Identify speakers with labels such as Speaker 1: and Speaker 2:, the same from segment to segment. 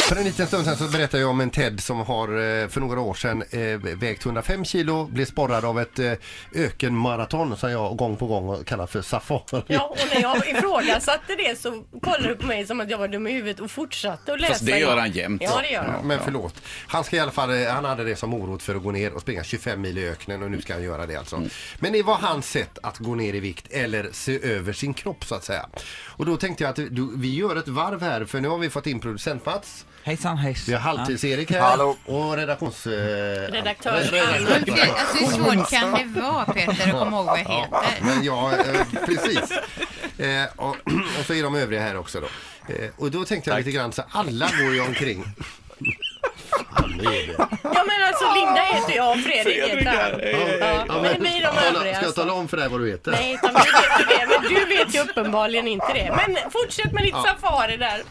Speaker 1: För en liten stund sedan så berättade jag om en Ted som har eh, för några år sedan eh, vägt 105 kilo, blev sporrad av ett eh, ökenmaraton som jag gång på gång kallar för safari.
Speaker 2: Ja, och när jag ifrågasatte det så kollade du på mig som att jag var dum i huvudet och fortsatte att läsa.
Speaker 3: Fast det gör han jämt.
Speaker 2: Ja, det gör han.
Speaker 1: Men förlåt. Han ska i alla fall, eh, han hade det som morot för att gå ner och springa 25 mil i öknen och nu ska han göra det
Speaker 2: Mm.
Speaker 1: alltså. Men det var hans sätt att gå ner i vikt eller se över sin kropp så att säga. Och då tänkte jag att eh, du, vi gör ett varv här för nu har vi fått in producent Mats.
Speaker 4: Hejsan hejs.
Speaker 1: Vi har halvtids-Erik här
Speaker 5: Hallå.
Speaker 1: och redaktions... eh,
Speaker 2: Redaktör.
Speaker 1: Redaktörs-
Speaker 6: Det, alltså, hur svårt kan alltså, det vara Peter att komma ihåg vad jag
Speaker 1: Ja,
Speaker 6: heter?
Speaker 1: men ja, eh, precis. Eh, och, och så är de övriga här också då. Eh, och då tänkte jag lite grann så alla går ju omkring. Fan, nu är det.
Speaker 2: Ja men alltså Linda heter jag och Fredrik heter han. Ja,
Speaker 1: Ja,
Speaker 2: men vi är de
Speaker 1: tala-
Speaker 2: övriga
Speaker 1: Ska jag
Speaker 2: alltså.
Speaker 1: tala om för dig vad du heter?
Speaker 2: Nej, utan vi vet ju det. Men du vet ju uppenbarligen inte det. Men fortsätt med ditt safari där.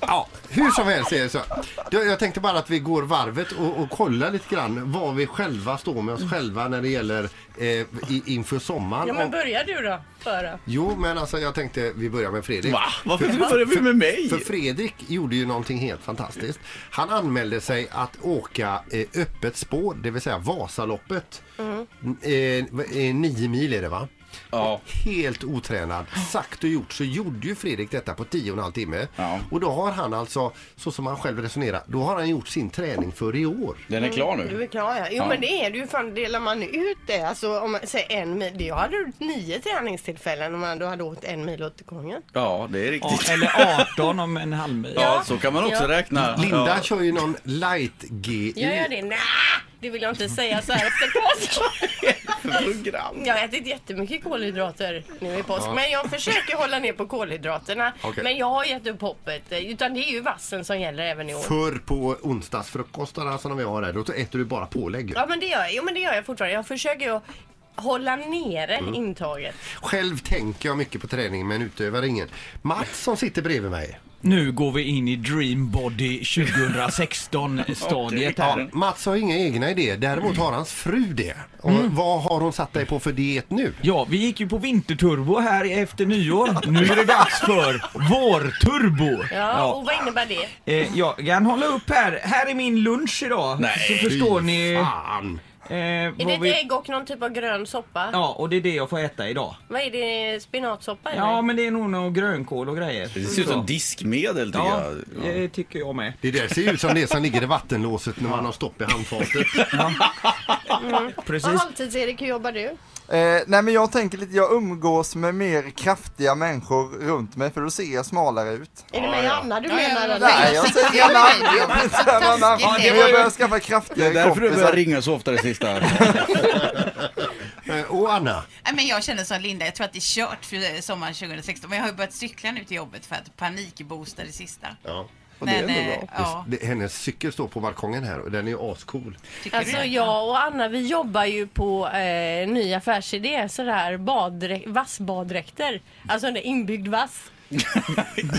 Speaker 1: Ja, hur som helst är det så. Jag, jag tänkte bara att vi går varvet och, och kollar lite grann vad vi själva står med oss själva när det gäller eh, i, inför sommaren.
Speaker 2: Ja men
Speaker 1: Och-
Speaker 2: börjar du då, Föra.
Speaker 1: jo, men alltså jag tänkte vi börjar med Fredrik.
Speaker 3: Va? Varför börjar vi med mig?
Speaker 1: För Fredrik gjorde ju någonting helt fantastiskt. Han anmälde sig att åka eh, öppet spår, det vill säga Vasaloppet. Mm. Eh, eh, nio mil är det va?
Speaker 3: Ja.
Speaker 1: Helt otränad. Sagt och gjort så gjorde ju Fredrik detta på tio och en halv timme.
Speaker 3: Ja.
Speaker 1: Och då har han alltså, så som han själv resonerar, då har han gjort sin träning för i år.
Speaker 3: Den är klar
Speaker 2: Du
Speaker 3: nu.
Speaker 2: är klar ja. Jo
Speaker 3: Mm. Ja.
Speaker 2: men det är du ju. Fan delar man ut det, alltså om man säger en mil. Jag hade gjort nio träningstillfällen om man då hade åkt en mil åt gången.
Speaker 3: Ja, det
Speaker 4: Ja,
Speaker 3: är riktigt.
Speaker 4: eller 18 om en halv mil.
Speaker 3: Ja, så kan man också
Speaker 2: Ja.
Speaker 3: räkna.
Speaker 1: Linda
Speaker 3: Ja.
Speaker 1: kör ju någon light E GI.
Speaker 2: Jag gör det? Nej, det vill jag inte säga så här efter påsk.
Speaker 3: program.
Speaker 2: Jag har ätit jättemycket kolhydrater nu i påsk. Men jag försöker hålla ner på kolhydraterna.
Speaker 1: Okej.
Speaker 2: Men jag har gett upp hoppet. eh, Utan det är ju vassen som gäller även i år.
Speaker 1: Förr på onsdagsfrukostarna som vi har här, då äter du bara pålägg.
Speaker 2: Ja men det gör jag. Jo men det gör jag fortfarande. Jag försöker ju att hålla nere intaget.
Speaker 1: Själv tänker jag mycket på träning men utövar ingen. Mats som sitter bredvid mig.
Speaker 4: Nu går vi in i Dream Body 2016-stadiet här.
Speaker 1: Mats har inga egna idéer, däremot har hans fru det. Och Vad har hon satt dig på för diet nu?
Speaker 4: Ja, vi gick ju på vinterturbo här efter nyår. Nu är det dags för vårturbo.
Speaker 2: Ja, och
Speaker 4: Ja.
Speaker 2: vad innebär det?
Speaker 4: Eh, jag kan hålla upp här. Här är min lunch idag.
Speaker 3: Nej,
Speaker 4: så förstår ni eh,
Speaker 1: Fan!
Speaker 2: Är det
Speaker 4: vad
Speaker 2: ett
Speaker 4: vi...
Speaker 2: ägg och någon typ av grön soppa?
Speaker 4: Ja, och det är det jag får äta idag.
Speaker 2: Vad är det? Spinatsoppa eller?
Speaker 4: Ja, men det är nog någon grönkål och grejer.
Speaker 3: Det ser ut som diskmedel tycker
Speaker 4: Ja,
Speaker 3: jag.
Speaker 4: det tycker jag med.
Speaker 1: Det där ser ut som det som ligger i vattenlåset när man har stopp i handfatet.
Speaker 2: Och
Speaker 4: Precis.
Speaker 2: halvtids-Erik, hur jobbar du?
Speaker 5: Eh, nej men jag tänker lite, jag umgås med mer kraftiga människor runt mig för då ser jag smalare ut.
Speaker 2: Är det mig och Anna du
Speaker 6: Ja,
Speaker 2: menar?
Speaker 6: ja,
Speaker 2: eller?
Speaker 5: Nej jag säger inga namn, jag vill inte säga några namn.
Speaker 6: Taskigt, det
Speaker 5: Men
Speaker 6: var
Speaker 5: jag
Speaker 6: ju-
Speaker 5: börjar skaffa
Speaker 3: Det är
Speaker 5: kraftigare
Speaker 3: därför du börjar
Speaker 5: kompisar.
Speaker 3: ringa så ofta det sista.
Speaker 1: Eh, Och Anna,
Speaker 6: Nej, men jag känner som Linda, jag tror att det är kört för eh, sommaren 2016. Men jag har ju börjat cykla nu till jobbet för att panikboosta det sista.
Speaker 1: Ja.
Speaker 3: Och det är ändå
Speaker 6: eh,
Speaker 3: bra.
Speaker 6: ja,
Speaker 1: det, hennes cykel står på balkongen här och den är ju ascool.
Speaker 6: tycker
Speaker 2: Alltså
Speaker 6: du?
Speaker 2: jag och Anna vi jobbar ju på eh, ny affärsidé sådär baddräk- vassbaddräkter. Alltså en inbyggd vass.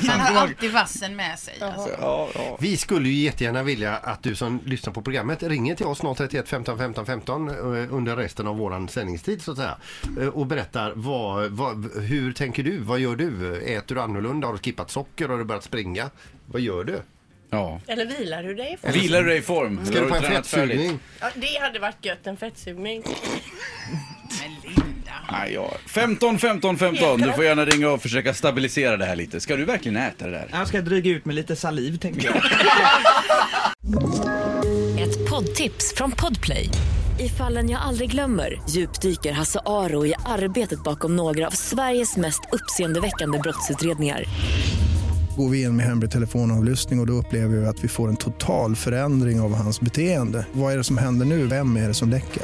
Speaker 6: Man har alltid vassen med sig. Alltså.
Speaker 3: Ja, ja.
Speaker 1: Vi skulle ju jättegärna vilja att du som lyssnar på programmet ringer till oss 031 15 15 15 eh, under resten av våran sändningstid så att säga. Eh, Och berättar vad, vad, hur tänker du? Vad gör du? Äter du annorlunda? Har du skippat socker? Har du börjat springa? Vad gör du?
Speaker 3: ja.
Speaker 2: Eller vilar du dig? För?
Speaker 3: Vilar du dig i form?
Speaker 1: Ska du på en
Speaker 3: tränat färdigt?
Speaker 1: fettsugning?
Speaker 2: Ja, det hade varit gött, en fettsugning.
Speaker 6: Men Linda.
Speaker 3: Nej, ja. 15, 15, 15. Du får gärna ringa och försöka stabilisera det här lite. Ska du verkligen äta det där?
Speaker 4: Jag ska dryga ut med lite saliv tänker jag.
Speaker 7: Ett poddtips från Podplay. I fallen jag aldrig glömmer djupdyker Hasse Aro i arbetet bakom några av Sveriges mest uppseendeväckande brottsutredningar.
Speaker 8: Går vi in med hemlig telefonavlyssning och, och då upplever vi att vi får en total förändring av hans beteende. Vad är det som händer nu? Vem är det som läcker?